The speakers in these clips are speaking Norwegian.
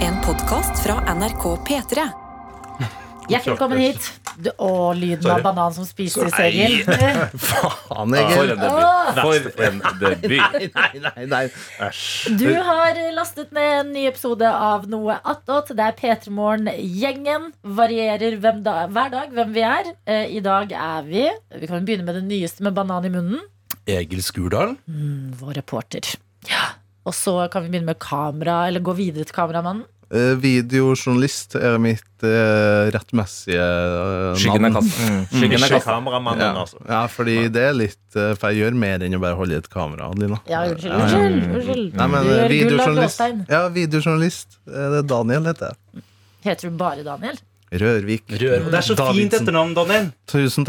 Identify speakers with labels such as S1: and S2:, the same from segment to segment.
S1: En podkast fra NRK P3.
S2: Hjertelig velkommen hit. Du, å, lyden av
S3: Sorry.
S2: banan som spises, Egil.
S3: Faen,
S4: For en
S3: Egil.
S4: debut. For en debut.
S3: Nei, nei, nei. nei. Æsj.
S2: Du har lastet ned en ny episode av Noe attåt. Det er P3 Morgen-gjengen. Varierer hvem da, hver dag hvem vi er. Eh, I dag er vi Vi kan jo begynne med det nyeste med banan i munnen.
S3: Egil Skurdal.
S4: Mm.
S2: Vår reporter. Ja. Og så kan vi begynne med kamera, eller gå videre til kameramannen.
S5: Eh, Videojournalist er mitt eh, rettmessige eh,
S4: Skyggen er
S5: navn.
S4: kastet. Skyggen er
S3: Ikke
S4: kastet.
S3: kameramannen,
S5: Ja.
S3: altså.
S5: ja, fordi det er litt eh, For jeg gjør mer enn å bare holde i et kamera, Adelina.
S2: Ja, unnskyld.
S5: Ja, ja.
S2: unnskyld, unnskyld.
S5: Nei, men,
S2: Du
S5: eh,
S2: gjør gull av
S5: videojournalist,
S2: blåstein.
S5: ja, videojournalist. Eh, Det er Daniel, heter jeg.
S2: Heter du bare Daniel?
S5: Rørvik.
S3: Rør.
S6: Det er så fint etternavn, Daniel.
S5: Tusen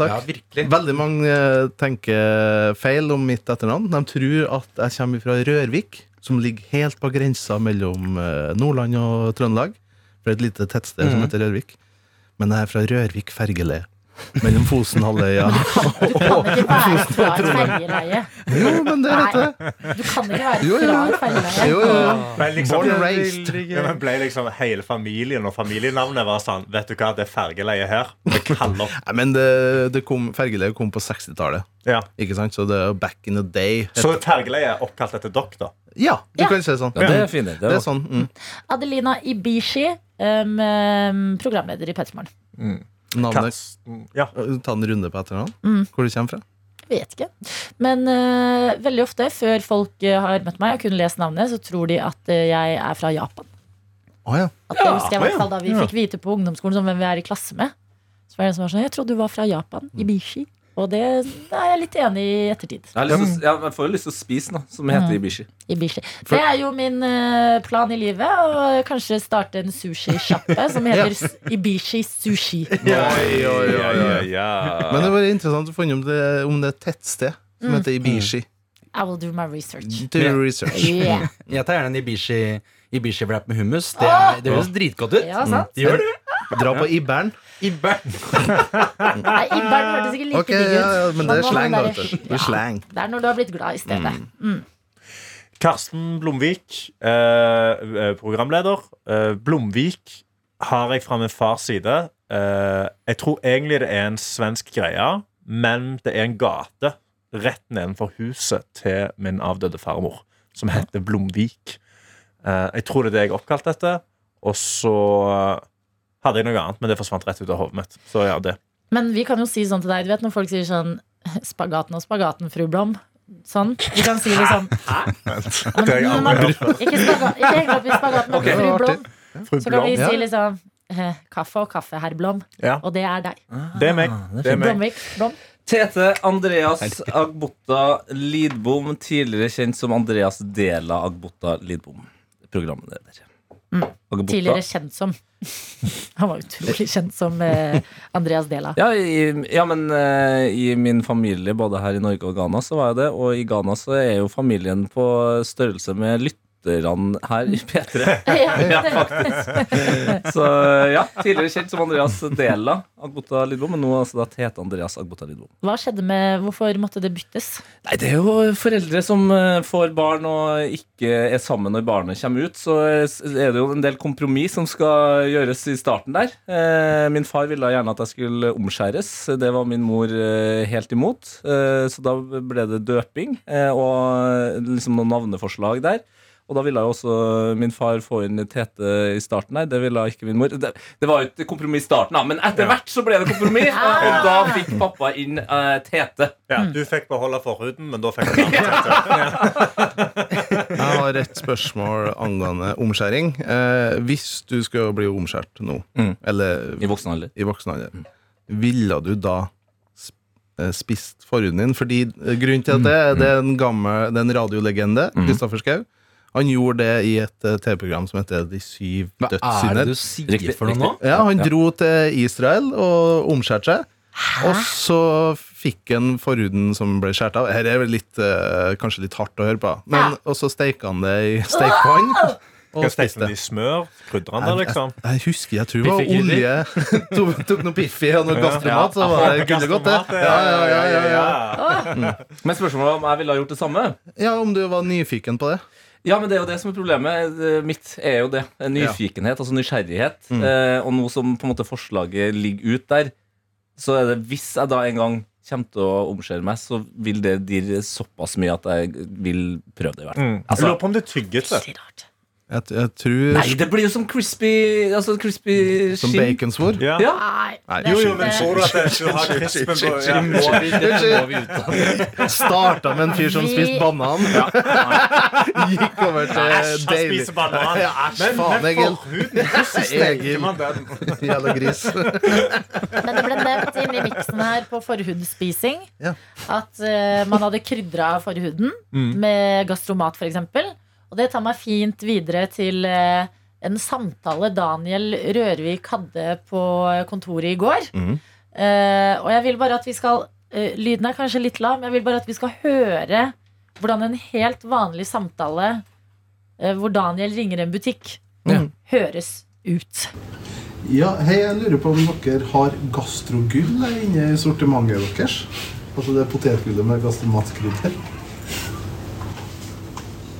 S3: Ja,
S5: takk.
S3: virkelig.
S5: Veldig mange eh, tenker feil om mitt etternavn. De tror at jeg kommer fra Rørvik, som ligger helt på grensa mellom eh, Nordland og Trøndelag. Fra et lite tettsted
S6: Mhm.
S5: som heter Rørvik. Men jeg er fra Rørvik fergele. Mellom Fosenhalvøya
S2: Du kan ikke være fra et fergeleie.
S5: Jo, men det vet jeg.
S2: Du kan ikke være
S5: Jo, jo.
S2: fra et fergeleie.
S5: Jo, jo, jo.
S3: Men
S5: Born
S3: liksom,
S5: and raised.
S3: ja, men ble liksom hele familien og familienavnet var sånn Vet du hva, det er fergeleie her. Vi kaller
S5: Nei, men det, det kom, fergeleie kom på 60-tallet.
S3: ja.
S5: Ikke sant? Så det er jo back in the day.
S3: Så fergeleie er oppkalt etter dere, da?
S5: Ja, du
S2: Ja.
S5: kan si det sånn.
S4: Ja, det er fint.
S5: Det
S4: Det
S5: er sånn. Mm.
S2: Adelina Ibishi, um, um, programleder i Pettermorgen.
S5: Navnet
S3: Kast- Ja.
S5: Ta en runde på etternavn.
S2: Mm.
S5: Hvor du kommer fra.
S2: Jeg Vet ikke. Men eh, veldig ofte, før folk eh, har møtt meg og kunne lest navnet, så tror de at eh, jeg er fra Japan.
S5: Å ja.
S2: At det husker jeg i
S3: ja.
S2: hvert fall da vi fikk vite på ungdomsskolen som hvem vi er i klasse med. Så var det en som var sånn Jeg trodde du var fra Japan.
S3: Mm.
S2: Ibishi. Og det da er jeg litt enig i ettertid.
S4: Jeg, har lyst til, å- ja, jeg får jo lyst til å spise noe som heter Ibishi.
S2: Ibishi. Det er jo min eh, plan i livet. Å kanskje starte en sushisjappe som heter s- Ibishi Sushi.
S3: Oi, oi, oi,
S5: Men
S3: oi.
S5: det var interessant å finne om det, om det er et tettsted som
S2: Mm.
S5: heter Ibishi.
S2: I will do my
S3: Mm.
S2: research.
S5: To
S6: Ja.
S5: research.
S2: Yeah.
S6: Jeg tar gjerne en Ibishi- Ibishi-wrap med hummus. Det,
S3: Ah!
S6: er, det høres dritgodt ut.
S2: Ja, sant?
S6: Gjør det?
S5: Dra på Ibern.
S6: Ibern.
S2: Nei, Ibern hørtes ikke like
S5: Ok,
S2: digg ut.
S5: ja, ja, men det
S2: Man
S5: er
S2: må ha
S5: slang,
S2: den
S5: da.
S2: der-
S5: vet du. Det
S2: Ja,
S5: er slang. Mm.
S2: det er når du har blitt glad i stedet.
S3: Karsten Blomvik, eh, programleder. Eh, Blomvik har jeg fra min fars side. Eh, jeg tror egentlig det er en svensk greie, men det er en gate rett nedenfor huset til min avdøde farmor, som heter Blomvik. Eh, jeg tror det er det jeg er oppkalt etter. Og så hadde jeg noe annet, men det forsvant rett ut av hodet mitt. Så ja, det.
S2: Men vi kan jo si sånn til deg, du vet når folk sier sånn Spagaten og spagaten, fru Blom. Sånn. Vi kan si liksom Ja, men- men man- Ikke, spaga, ikke heng deg opp i spagaten, men
S5: Ok, det
S2: fru
S5: var
S2: Blom.
S3: Fru
S2: Så kan vi
S3: Blom.
S2: si
S5: ja.
S2: liksom eh, Kaffe og kaffe, herr Blom.
S3: Ja.
S2: Og det er deg.
S3: Det er meg. Ah, Det er meg.
S2: Blomvik. Blom.
S4: Tete Andreas Agbota Lidbom, tidligere kjent som Andreas Dela Agbota Lidbom. Programleder. Agbota.
S2: Tidligere kjent som Han var utrolig kjent som eh, Andreas Dela.
S4: Ja, i, ja men eh, i min familie, både her i Norge og Ghana, så var jeg det. Og i Ghana så er jo familien på størrelse med lytterne her i P3.
S2: Ja,
S4: Så ja, tidligere kjent som Andreas Dela Agbota Lidbom, men nå altså da Tete Andreas Agbota Lidbom.
S2: Hva skjedde med Hvorfor måtte det byttes?
S4: Nei, det er jo foreldre som eh, får barn og ikke er sammen når barnet kommer ut. Så eh, s- er det jo en del kompromiss som skal gjøres i starten der. Eh, Min far ville gjerne at jeg skulle omskjæres. Det var min mor eh, helt imot. Eh, Så da ble det døping eh, og liksom noen navneforslag der. Og da ville jo også eh, min far få inn Tete i starten her. Det ville ikke min mor. Det, det var jo et kompromiss i starten, da, men etter hvert så ble det kompromiss, og og da fikk pappa inn eh, Tete.
S3: Ja, du fikk beholde forhuden, men da fikk du navnet.
S5: Jeg har et spørsmål angående omskjæring. Eh, hvis du skal bli omskjært nå,
S4: Mm.
S5: eller
S4: I voksen alder.
S5: i voksen alder, ville du da sp- eh, spist forhuden din? Fordi eh, grunnen til at det, det er en gammel det er en radiolegende,
S6: Mhm.
S5: Kristoffer Schau. Han gjorde det i et eh, TV-program som heter De syv
S6: Hva er det
S5: dødssynder.
S6: du sier
S4: Riktig,
S6: for noe nå?
S4: riktig.
S5: Ja, han dro til Israel og omskjærte seg. Og så fikk han forhuden som ble skåret av. Her er vel litt, eh, kanskje litt hardt å høre på. Men, og så steika han det i stekepann. Og
S3: Skal steke
S5: spiste.
S3: med de smør? Krydrer han det,
S5: Jeg,
S3: liksom?
S5: jeg, jeg husker, jeg tror det var
S6: Piffi Gulli?
S5: olje. tok, tok noe Piffi og noe gastromat, så var det gullegodt, det. Ja, ja, ja, ja, ja.
S4: Men spørsmålet var om jeg ville ha gjort det samme.
S5: ja, om du var nyfiken på det.
S4: Ja, men det er jo det som er problemet. Eh, Mitt er jo det. En Nyfikenhet, altså nysgjerrighet. Eh, og nå som på en måte forslaget ligger ut der, så er det hvis jeg da en gang kommer til å omskjære meg, så vil det dirre såpass mye at jeg vil prøve det. i hvert fall
S3: Mm. Jeg
S4: Altså-
S3: lurer på om det er tyggete.
S2: Veldig rart.
S5: Jeg, jeg tror
S4: Nei, det blir jo som crispy Altså crispy
S5: Som
S4: skinn.
S5: baconsvor.
S3: Ja.
S4: Ja.
S2: Nei.
S5: Nei,
S2: det er
S3: Jo, jo,
S2: ikke-
S3: men tror du at det- du har krispen på ja.
S6: Må vi, det må vi ut av.
S5: Starta med en fyr som
S2: Vi-
S5: spiste banan. Gikk over til
S3: Æsj, han
S5: deilig
S3: spiser banan.
S5: Ja, æsj,
S3: Men
S5: faen,
S3: med
S5: Egil.
S3: forhuden så steker man den.
S5: jævla gris.
S2: Men det ble nevnt i miksen her på forhudspising
S5: Ja.
S2: at eh, man hadde krydra forhuden med gastromat, f.eks. Og det tar meg fint videre til eh, en samtale Daniel Rørvik hadde på kontoret i går.
S5: Mhm.
S2: Eh, og jeg vil bare at vi skal eh, Lyden er kanskje litt lav, men jeg vil bare at vi skal høre hvordan en helt vanlig samtale eh, hvor Daniel ringer en butikk, høres ut.
S7: Ja, hei, jeg lurer på om dere har gastrogull her inne i sortimentet deres? Altså det potetgullet med gastromatkrydder?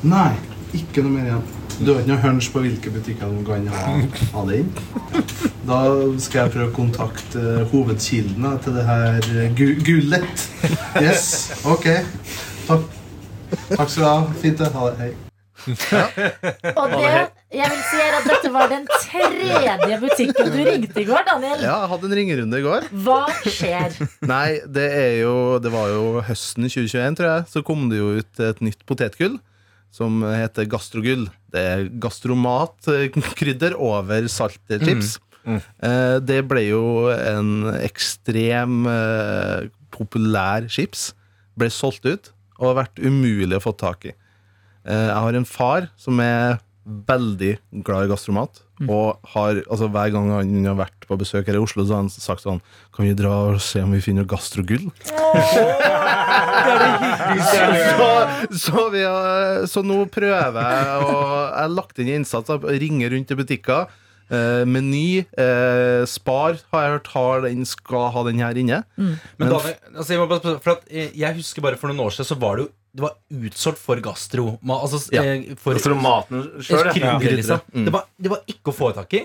S7: Nei, ikke noe mer igjen. Du har ikke noe hunch på hvilke butikker som kan ha, ha det inn? Da skal jeg prøve å kontakte eh, hovedkilden da, til det her eh, gu gullet. Yes, ok. Takk. Takk skal du ha. Fint, det. Ha det. Hei.
S2: Og det, jeg vil si er at dette var den tredje butikken du ringte i går, Daniel.
S5: Ja, jeg hadde en ringerunde i går.
S2: Hva skjer?
S5: Nei, det er jo Det var jo høsten 2021, tror jeg. Så kom det jo ut et nytt potetgull som heter gastrogull. Det er gastromat, eh, krydder over saltchips. Eh, Det ble jo en ekstrem eh, populær chips. Ble solgt ut og har vært umulig å få tak i. Eh, Jeg har en far som er veldig glad i gastromat. Og har, altså Hver gang han har vært på besøk her i Oslo, så har han sagt sånn Kan vi dra og se om vi finner gastrogull? så, så, vi har, så nå prøver jeg å Jeg har lagt inn innsats. Jeg ringer rundt til butikker. Eh, meny. Eh, Spar har jeg hørt har den, skal ha den her inne.
S6: Men Daniel, altså jeg, må bare, spørre, for at eh, jeg husker bare for noen år siden så var det jo det var utsolgt for gastro. ma- Altså,
S5: Ja.
S6: eh, for,
S4: Gastromaten sjøl, ja.
S6: Krydderi,
S5: Ja.
S6: liksom.
S5: Mm.
S6: Det, var, det var ikke å få tak i.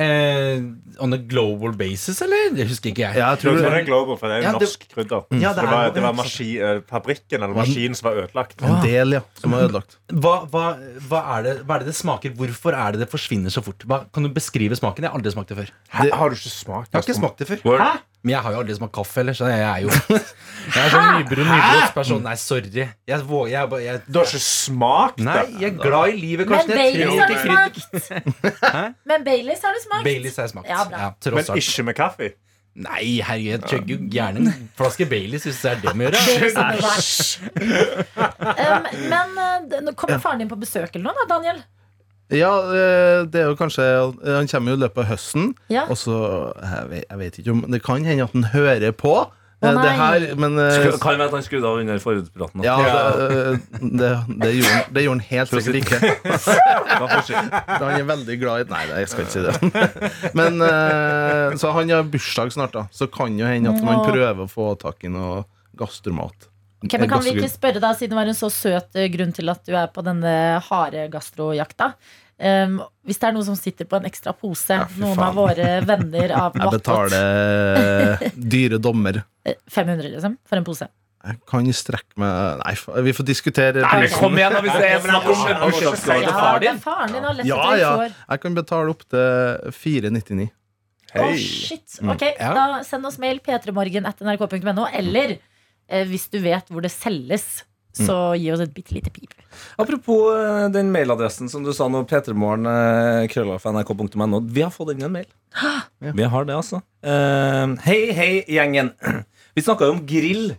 S6: Eh, on a global basis, eller? Det husker ikke jeg.
S5: Ja,
S3: Jeg
S5: jeg tror
S3: tror det er global, for det er jo
S6: Ja, det-
S3: norsk krydder. Så
S6: Ja, det
S3: det
S6: er
S3: var,
S6: jo-
S3: det var maski, eh, fabrikken eller maskinen som var ødelagt.
S5: en del, ja, som er ødelagt.
S6: Hva, hva, hva, er det, hva er det det smaker? Hvorfor er det det forsvinner så fort? Hva, kan du beskrive smaken? Jeg har aldri smakt det før. Jeg
S3: Hæ, Har du ikke smakt?
S6: har ikke smakt det før.
S4: Word.
S6: Hæ? Men jeg har jo aldri smakt kaffe heller, så jeg er jo Jeg er sånn nybrun nybruksperson. Nei, sorry. Jeg, våger- jeg, bare- jeg,
S3: Du har ikke smakt
S6: nei,
S3: det?
S6: jeg er glad i livet,
S2: Men
S6: Karsten. Jeg
S2: Baileys
S6: tror
S2: har du
S6: ikke krydder.
S2: smakt. Men Baileys har du smakt.
S6: Baileys har jeg smakt.
S2: Ja, bra.
S6: Ja,
S3: Men
S6: tross alt.
S3: ikke med kaffe?
S6: Nei, herregud, jeg chugger jo gjerne en flaske Baileys hvis det er det med å gjøre.
S2: Baileys er bra. Um, men eh, d- nå kommer faren din på besøk eller noe, da, Daniel?
S5: Ja, eh, det er jo kanskje eh, Han kommer jo i løpet av høsten.
S2: Ja.
S5: Og så eh, jeg vet, jeg vet ikke om Det kan hende at han hører på eh,
S2: Å, nei.
S5: det her, men eh,
S4: Skru- Kan være at han skrudde av under forhudspraten.
S5: ja, det, eh, det, det, gjorde han, det gjorde han helt sikkert ikke. Han er veldig glad i Nei, det- jeg skal ikke si det. Men eh, Så han har bursdag snart, da. Så kan jo hende at man
S2: Nå.
S5: prøver å få tak i noe gastromat.
S2: Ok, men kan vi
S5: Gastrogull.
S2: ikke spørre deg, siden det var en så søt eh, grunn til at du er på denne harde gastrojakta um, Hvis det er noen som sitter på en ekstra pose,
S5: Ja, fy
S2: noen
S5: faen.
S2: av våre venner av
S5: Jeg
S2: Nattot
S5: betaler dyre dommer.
S2: eh, 500, liksom, for en pose.
S5: Jeg kan strekke meg Nei, fa- vi får diskutere
S4: Nei,
S5: prisen.
S4: men kom igjen, da, hvis det er snakk om
S3: Ja, men jeg må
S4: bursdagsgave
S2: Ja,
S4: til far
S2: det er
S4: din.
S2: faren din har lett
S5: Ja,
S2: etter i
S5: ja.
S2: to år.
S5: Jeg kan betale opp til 4,99.
S2: Å,
S3: Hei.
S2: shit. Ok, da send oss mail p3morgen.nrk.no, eller eh, hvis du vet hvor det selges, så gi oss et bitte lite pip.
S4: Apropos eh, den mailadressen som du sa nå, eh, p3morgen.krøllalfa.nrk.no. Vi har fått inn en mail. Vi har det, altså. Eh, hei, hei, gjengen. Vi snakka jo om grill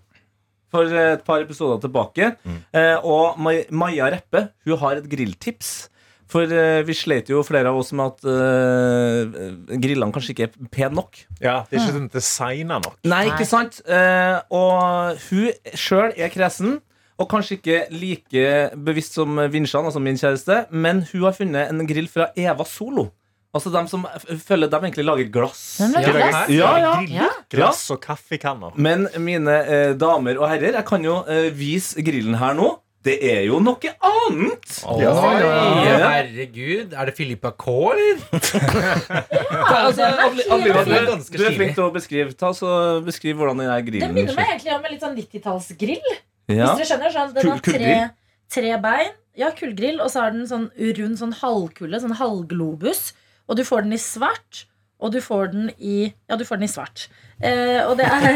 S4: for eh, et par episoder tilbake. Eh, og Mai- Maja Reppe hun har et grilltips. For eh, vi slet jo flere av oss med at eh, grillene kanskje ikke er pene nok.
S3: Ja, det er ikke sånn designa nok.
S4: Nei,
S2: Nei.
S4: ikke sant? Eh, og hun sjøl er kresen, og kanskje ikke like bevisst som Vinsjan, altså min kjæreste, men hun har funnet en grill fra Eva Solo. Altså dem som f- føler dem egentlig lager glass.
S2: Den lager glass.
S4: Ja, ja.
S2: Ja.
S3: Glass og kaffekanner.
S4: Men mine eh, damer og herrer, jeg kan jo eh, vise grillen her nå. Det er jo noe annet!
S5: Ja,
S6: Oi,
S4: ja.
S6: herregud. Er det Filippa K, eller?
S4: Altså,
S2: den er
S4: Adli-
S2: helt-
S4: Adli-
S6: Den er
S4: Adli,
S6: ganske
S4: du er
S6: stilig.
S4: flink til å beskrive. Ta, så beskriv hvordan den her
S2: Den
S4: grillen
S2: minner meg egentlig om en litt sånn 90-tallsgrill.
S4: Ja.
S2: Hvis dere skjønner, sånn, Den
S4: Kull-
S2: har tre,
S4: kullgrill?
S2: tre bein. Ja, kullgrill. Og så har den sånn rund sånn halvkulle, sånn halvglobus. Og du får den i svart. Og du får den i Ja, du får den i svart. Eh, og det er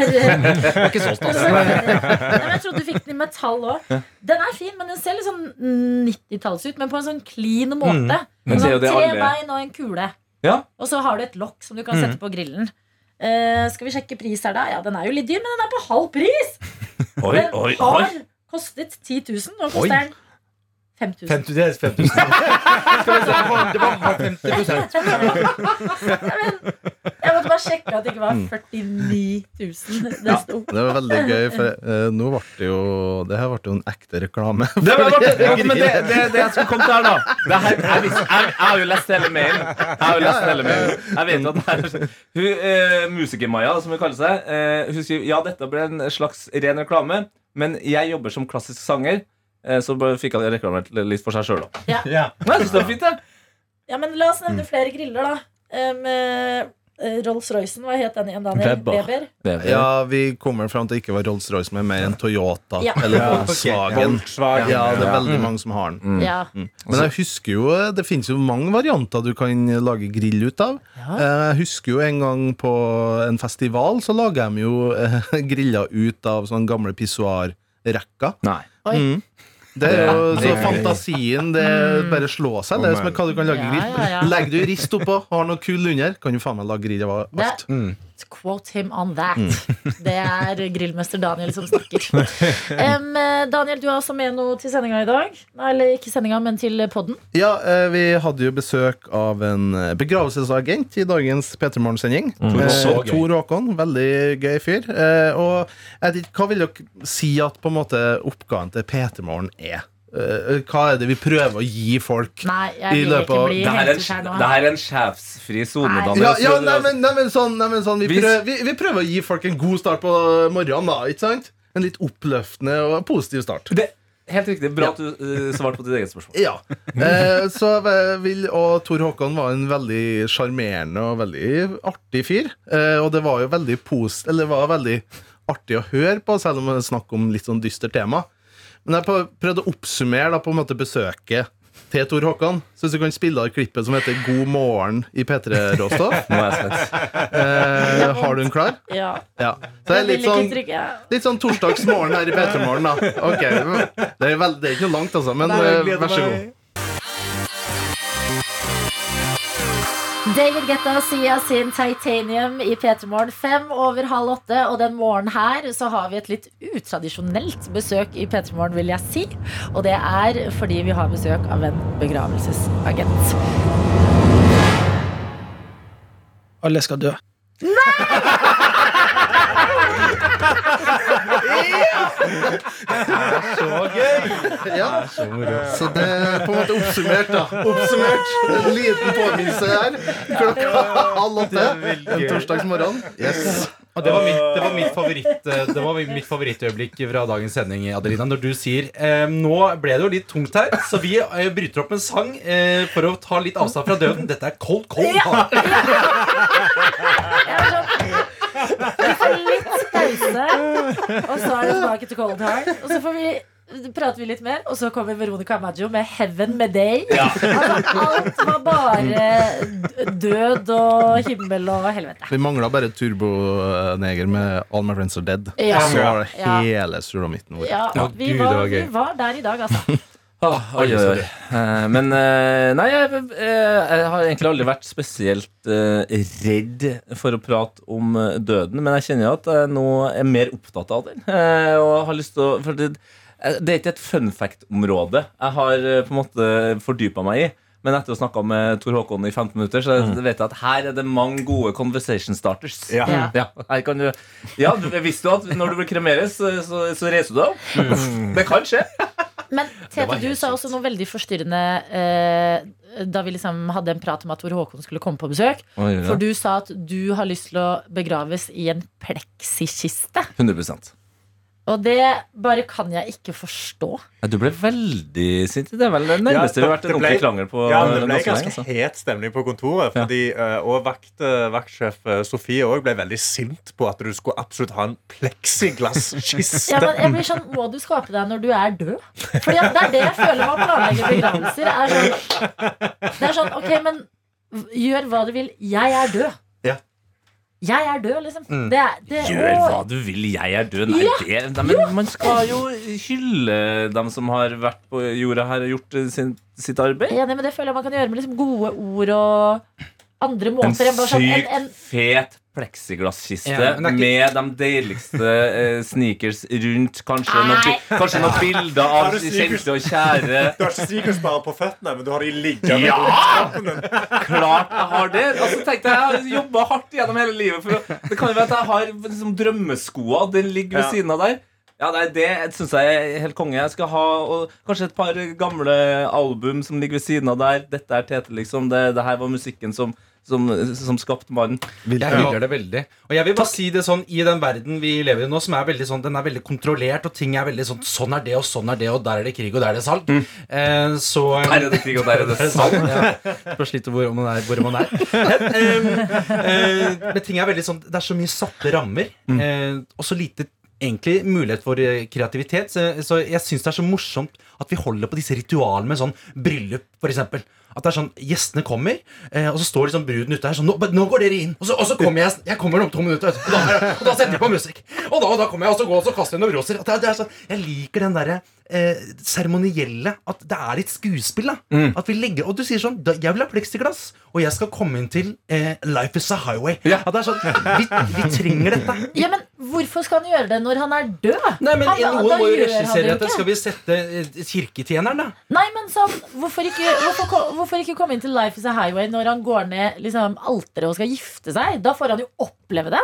S6: Ikke
S2: Nei,
S6: så stas.
S2: men Jeg trodde du fikk den i metall òg. Den er fin, men den ser litt sånn 90-talls ut, men på en sånn clean måte.
S4: Mm. Men det er
S2: sånn,
S4: jo det
S2: tre
S4: alle-
S2: bein og en kule.
S4: Ja. Mm.
S2: Og så har du et lokk som du kan sette på grillen. Eh, skal vi sjekke pris her, da? Ja, Den er jo litt dyr, men den er på halv pris!
S4: Oi,
S2: Den
S4: oi,
S2: har
S4: oi.
S2: kostet 10 000. Nå
S6: Oi.
S2: koster den 5000.
S6: 50, det er 5000. Skal vi se, det var- det var 50
S2: Jeg måtte bare sjekke at det ikke
S4: Mm.
S2: var 49 000 det sto.
S5: Det var veldig gøy, for eh, nå ble det jo Det her ble jo en ekte reklame.
S4: Det var godt, det, men det, det, det jeg skulle komme til her, da det her, jeg, vis- jeg, jeg har jo lest hele mailen. Jeg har jo lest hele mailen Jeg vet at det her Hun, eh, Musiker-Maja, som hun kaller seg, eh, hun skriver ja, dette ble en slags ren reklame, men jeg jobber som klassisk sanger. eh, Så bare fikk han reklamert litt for seg sjøl òg.
S2: Ja.
S6: Ja.
S4: Jeg syns det var fint, det.
S2: Ja, men la oss nevne flere griller, da. Um, eh, Rolls-Roycen, hva het den igjen, Daniel?
S4: Weber.
S2: Weber.
S4: det, er-
S5: Ja, vi kommer fram til at det ikke var Rolls-Royce, men mer en Toyota
S2: Ja.
S5: eller
S6: Ja, ok.
S5: Volkswagen.
S3: Volkswagen.
S5: Ja, det er
S3: Ja.
S5: veldig mange som har den.
S4: Mm.
S2: Ja.
S5: Men jeg husker jo, eh, det finnes jo mange varianter du kan lage grill ut av. Eh, Jeg husker jo en gang på en festival så lager de jo eh, griller ut av sånne gamle pissoarrekker.
S4: Nei.
S5: Mm. Det er jo så
S4: Det er Mm. gøy.
S5: fantasien det er bare slå seg. Det er som hva du kan lage
S2: Ja,
S5: grill.
S2: ja, ja.
S5: Legger du rist oppå, har noe kull under, kan du faen meg lage grill av
S2: Det,
S5: alt.
S2: quote him on that.
S5: Mm.
S2: Det er grillmester Daniel som snakker. Um, eh, Daniel, du er også med noe til sendinga i dag. Nei, Eller ikke sendinga, men til podden.
S5: Ja, eh, vi hadde jo besøk av en eh, begravelsesagent i dagens P3 Morgen-sending. Eh,
S6: Mm. Så gøy.
S5: Tor Håkon. Veldig gøy fyr. Eh, og jeg vet ikke, hva vil dere si at på en måte oppgaven til P3 Morgen er? Eh, hva er det vi prøver å gi folk?
S2: Nei,
S5: I
S2: jeg vil
S5: løpet
S2: ikke
S5: av-
S2: bli
S4: Det her er
S2: hengtus her
S4: en,
S2: nå.
S4: det her er en sjefsfri sone,
S2: Nei.
S4: Daniel.
S5: Ja, ja
S4: Så-
S5: nei, men, nei, men sånn, nei, men sånn vi,
S4: Hvis-
S5: prøver, vi, vi prøver å gi folk en god start på morgenen, da. Ikke sant? En litt oppløftende og positiv start.
S4: det, helt riktig. Bra at du eh, svarte på ditt eget spørsmål.
S5: Ja. Eh, så jeg vil, og Tor Håkon var en veldig sjarmerende og veldig artig fyr. Eh, og det var jo veldig pos Eller det var veldig artig å høre på, selv om det er snakk om litt sånn dystert tema. Men jeg prøv- prøvde å oppsummere da på en måte besøket til Tor Håkon. Så hvis du kan spille av klippet som heter 'God morgen' i P3 Råstoff.
S4: Nå er jeg spent.
S5: Eh, har du den klar?
S2: Ja.
S5: Ja. Så det er
S2: Jeg vil
S5: litt
S2: ikke
S5: sånn
S2: trykke.
S5: Litt sånn torsdagsmorgen her i P3morgen, da. Ok, Det er, vel- det er ikke noe langt, altså, men eh, vær så god.
S2: David Guetta sier sin Titanium i P3 Morgen fem over halv åtte. Og den morgenen her så har vi et litt utradisjonelt besøk i P3 Morgen, vil jeg si. Og det er fordi vi har besøk av en begravelsesagent.
S8: Alle skal dø.
S5: Ja. Så det er på en måte oppsummert, da. Oppsummert. En liten påminnelse her. Klokka halv åtte en torsdagsmorgen. Yes.
S6: Og det var mitt, det var mitt, favoritt, eh, det var mitt favorittøyeblikk fra dagens sending, Adelina. Når du sier eh, Nå ble det jo litt tungt her, så vi eh, bryter opp med en sang eh, for å ta litt avstand fra døden. Dette er Cold Cold. Heart.
S2: Jeg er sånn, Vi får litt pause, og så er det tilbake til Cold Heart. Og så får vi prater vi litt mer, og så kommer Veronica Maggio med 'Heaven med Day'. Altså, alt var bare d- død og himmel og helvete.
S5: Vi mangla bare Turboneger med All My Friends Are Dead.
S2: Ja.
S5: Så var det
S2: Ja.
S5: hele sulamitten vår.
S2: Ja,
S6: Ja,
S2: vi,
S6: Gud, det
S2: var,
S6: var gøy.
S2: vi var der i dag, altså.
S4: Ah, oi, oi, oi. Eh, Men eh, nei, jeg, eh, jeg har egentlig aldri vært spesielt eh, redd for å prate om eh, døden, men jeg kjenner at jeg nå er mer opptatt av den. eh, Og har lyst til å For det, eh, det er ikke et fun fact-område jeg har eh, på en måte fordypa meg i. Men etter å ha snakka med Tor Håkon i 15 minutter, så vet jeg at her er det mange gode conversation starters.
S3: Ja.
S2: Ja.
S4: Mm. Ja, her kan du Ja, du- visste du at når du blir kremeres, så, så, så reiser du deg opp? Uff, Det kan skje.
S2: Men Tete, du sa også noe veldig forstyrrende eh, da vi liksom hadde en prat om at Tor Håkon skulle komme på besøk. For du sa at du har lyst til å begraves i en pleksikiste.
S4: 100
S2: Og det bare kan jeg ikke forstå.
S4: Ja, du ble veldig sint. Det er vel det nærmeste vi har vært en ordentlig krangel på
S3: ja, det
S4: eh,
S3: ble
S4: ganske lenge.
S3: ganske
S4: Altså.
S3: het stemning på kontoret. Fordi, eh, Og vakt, eh, vaktsjef eh, Sofie også ble veldig sint på at du skulle absolutt ha en pleksiglasskiste.
S2: Ja, men jeg blir sånn, Må du skape deg når du er død? Fordi at det er det jeg føler med å planlegge begravelser. Er sånn, det er sånn, ok, men v- gjør hva du vil. Jeg er død.
S6: Ja.
S2: Jeg er død, liksom. Det er, det,
S4: Gjør
S2: å,
S4: hva du vil, jeg er død. Nei, det, nei, men man skal jo hylle dem som har vært på jorda her og gjort eh, sin, sitt arbeid.
S2: Enig, men det føler jeg man kan gjøre med liksom gode ord og andre
S4: En
S2: måter. enn bare sånn, en, en,
S4: sykt fet pleksiglasskiste
S6: Ja, men det er
S4: med de deiligste eh, sneakers rundt. Kanskje noen, bi- kanskje noen bilder
S3: Har
S4: av
S3: du sneakers?
S4: kjente og kjære.
S3: Du har ikke sikkerhetsbare på føttene, men du har de liggende.
S4: Ja!
S3: rundt kroppen.
S4: Klart jeg har det. Og så tenkte jeg, jeg har jobba hardt gjennom hele livet. For å, det kan jo være at jeg har liksom, drømmeskoa. Den ligger ved
S3: Ja.
S4: siden av der. Ja, nei, Det syns jeg er helt konge. Jeg skal ha og, kanskje et par gamle album som ligger ved siden av der. Dette er Tete, liksom. Det, det her var musikken som, som, som skapte mannen.
S5: Hvilke-
S6: Jeg hyller det veldig. Og jeg vil bare si det sånn i den verden vi lever i nå, som er veldig sånn, den er veldig kontrollert, og ting er veldig sånn sånn er det, og sånn er det, og der er det krig, og der er det salg. Eh, så
S4: Der er det krig, og der er det salg.
S6: Ja. Spørs litt hvor man er. Hvor man er. Men, ehm, eh, eh, men ting er veldig sånn Det er så mye satte rammer,
S4: Mm.
S6: eh, og så lite egentlig mulighet for eh, kreativitet. Så, så jeg syns det er så morsomt at vi holder på disse ritualene med sånn bryllup, f.eks. At det er sånn, Gjestene kommer, eh, og så står liksom bruden ute her sånn nå, nå går dere inn! Og så, og så kommer jeg Jeg kommer om to minutter, vet du. Og da, og da setter jeg på musikk. Og da, og da kommer jeg, og så går jeg og så kaster jeg noen roser. At det, er- det er sånn, jeg liker den derre eh, seremonielle At det er litt skuespill. da At vi legger Og du sier sånn da, Jeg vil ha pleksiglass, og jeg skal komme inn til eh, Life is a highway. At det er sånn Vi, vi trenger dette.
S2: ja, men hvorfor skal han gjøre det når han er død?
S6: Nei, men
S2: Han-
S6: Noen
S2: da
S6: må jo
S2: gjør han
S6: regissere
S2: jo
S6: dette.
S2: ikke.
S6: Skal vi sette eh, kirketjeneren, da?
S2: Nei, men sånn, hvorfor ikke, hvorfor, ko- hvorfor ikke komme inn til Life is a Highway når han går ned liksom, alteret og skal gifte seg? Da får han jo oppleve det.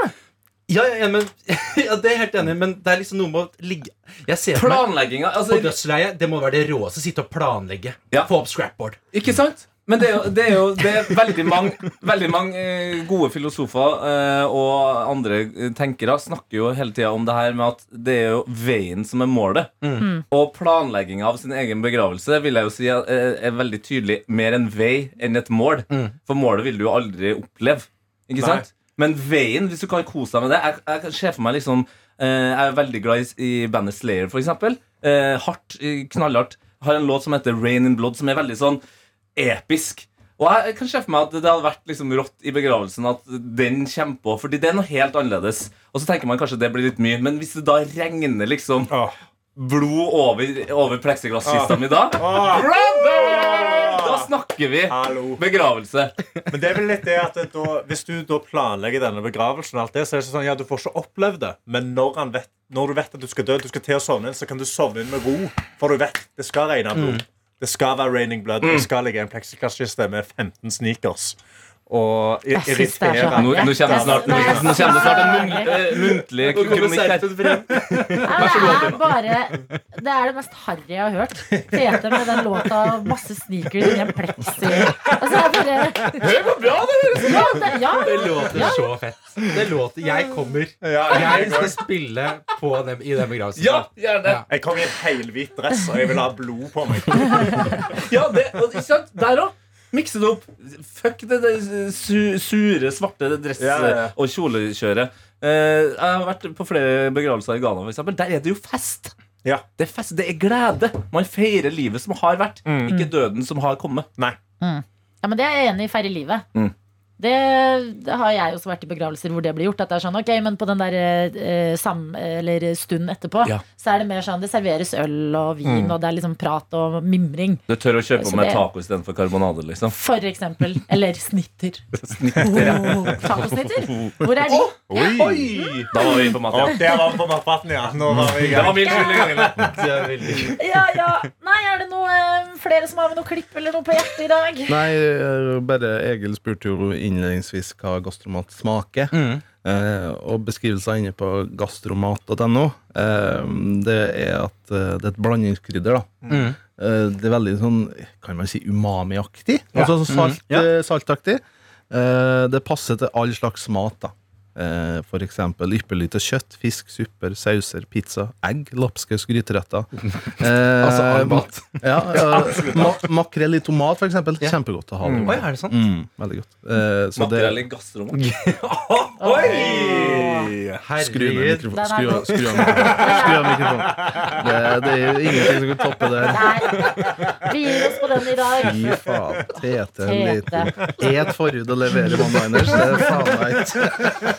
S6: Ja, ja, ja, men, ja, det er jeg helt enig i, men det er liksom noe med å ligge Jeg ser for meg
S4: Planlegginga.
S6: på
S4: Altså,
S6: dødsleiet, det må være det råeste. Sitte og planlegge.
S4: Ja.
S6: Få opp scrapboard.
S4: Ikke sant? Men det er jo, det er jo det er veldig mange, veldig mange eh, gode filosofer eh, og andre eh, tenkere snakker jo hele tida om det her med at det er jo veien som er målet. Og planlegginga av sin egen begravelse vil jeg jo si er, eh, er veldig tydelig mer en vei enn et mål. For målet vil du jo aldri oppleve. Ikke
S3: Nei.
S4: sant? Men veien, hvis du kan kose deg med det Jeg, jeg kan se for meg liksom eh, Jeg er veldig glad i, i bandet Slayer, for eksempel. Eh, hardt, eh, knallhardt. Har en låt som heter Rain in Blood, som er veldig sånn episk. Og jeg, jeg kan se for meg at det hadde vært liksom rått i begravelsen at den kommer på, fordi det er noe helt annerledes. Og så tenker man kanskje det blir litt mye, men hvis det da regner liksom
S3: Åh.
S4: blod over, over pleksiglasskista mi da
S3: Åh,
S4: Brother! Da snakker vi
S3: hallo.
S4: begravelse.
S3: Men det er vel litt det at det da, hvis du da planlegger denne begravelsen, og alt det, så er det sånn, ja, du får ikke opplevd det. Men når, han vet, når du vet at du skal dø, du skal til å sovne inn, så kan du sovne inn med ro. For du vet det skal regne blod.
S4: Mm.
S3: Det skal være raining blood. Det skal ligge en pleksiklasskiste med 15 sneakers. Og i-
S2: Jeg synes det er så
S4: Nå,
S3: irriterende.
S4: nå kommer det snart, nå kommer det snart en mun, eh, muntlig kronikk her.
S2: Nei, det er bare Det er det mest harry jeg har hørt. Tete med den låta og masse sneakers i en pleksi. Altså, jeg bare,
S4: Det går bra, det!
S2: ja, det, ja,
S6: Det låter så fett. Det låter Jeg kommer.
S3: Ja,
S6: Jeg
S3: jeg,
S6: skal spille på dem, i den begravelsen.
S4: Ja, gjerne.
S6: Ja.
S3: jeg kom i en helhvit dress, og jeg vil ha blod på meg.
S4: Ja, det, og, ikke sant? Der òg. Mikse det opp. Fuck det, det su, sure, svarte dress-
S3: Ja, ja, ja.
S4: og kjolekjøret. Eh, jeg har vært på flere begravelser i Ghana. For eksempel. Der er det jo fest.
S3: Ja.
S4: Det er fest, det er glede. Man feirer livet som har vært,
S3: Mm.
S4: ikke døden som har kommet.
S2: ja, men det er jeg enig i. Feire livet.
S4: Mm.
S2: Det, det har jeg også vært i begravelser hvor det blir gjort. At det er sånn, ok, men på den der eh, sam, eller stund etterpå,
S4: Ja. Mm.
S2: så er det mer sånn det serveres øl og vin, og det er liksom prat og mimring.
S4: Du tør å kjøpe
S2: Så
S4: med
S2: det-
S4: taco istedenfor karbonade, liksom.
S2: For eksempel. Eller snitter. Oh, Tacosnitter? Hvor er de?
S3: Oi!
S4: Da var vi på mat,
S3: Og der var vi på matpraten, ja. Nå var vi i
S4: Det var
S3: gang.
S4: min skyld. Ingrid.
S6: Det er veldig-
S2: Ja, ja. Nei, er det noe, eh, flere som har med noe klipp eller noe på hjertet i dag?
S5: Nei, eh, bare Egil spurte jo innledningsvis hva gastromat smaker. Eh, og beskrivelser inne på gastromat.no eh, Det er at eh, det er et blandingskrydder. da Eh, Det er veldig sånn kan man si umami-aktig. Altså sånn salt,
S6: Ja.
S5: eh, saltaktig. Eh, Det passer til all slags mat. da Eh, for eksempel ypperlig til kjøtt, fisk, supper, sauser, pizza, egg, lapskaus, gryteretter. Eh,
S6: Altså armbat.
S5: Ja, eh, ma makrell i tomat, for eksempel. Kjempegodt å ha.
S6: Oi, er det sant?
S5: Mm, veldig godt. Eh, så det
S4: Makrell i gasserommet.
S3: Oi!
S5: Skru ned
S6: Herregud.
S5: mikrofonen.
S2: Der er
S5: Skru av
S2: den.
S5: skru av mikrofonen. Skru av mikrofonen. Det, det er jo ingenting som kan toppe det. her.
S2: Nei. Vi gir oss på den i dag.
S5: Fy faen. Tete en
S2: Tete.
S5: liten Et forhud å levere one-liners, det er faen meg ikke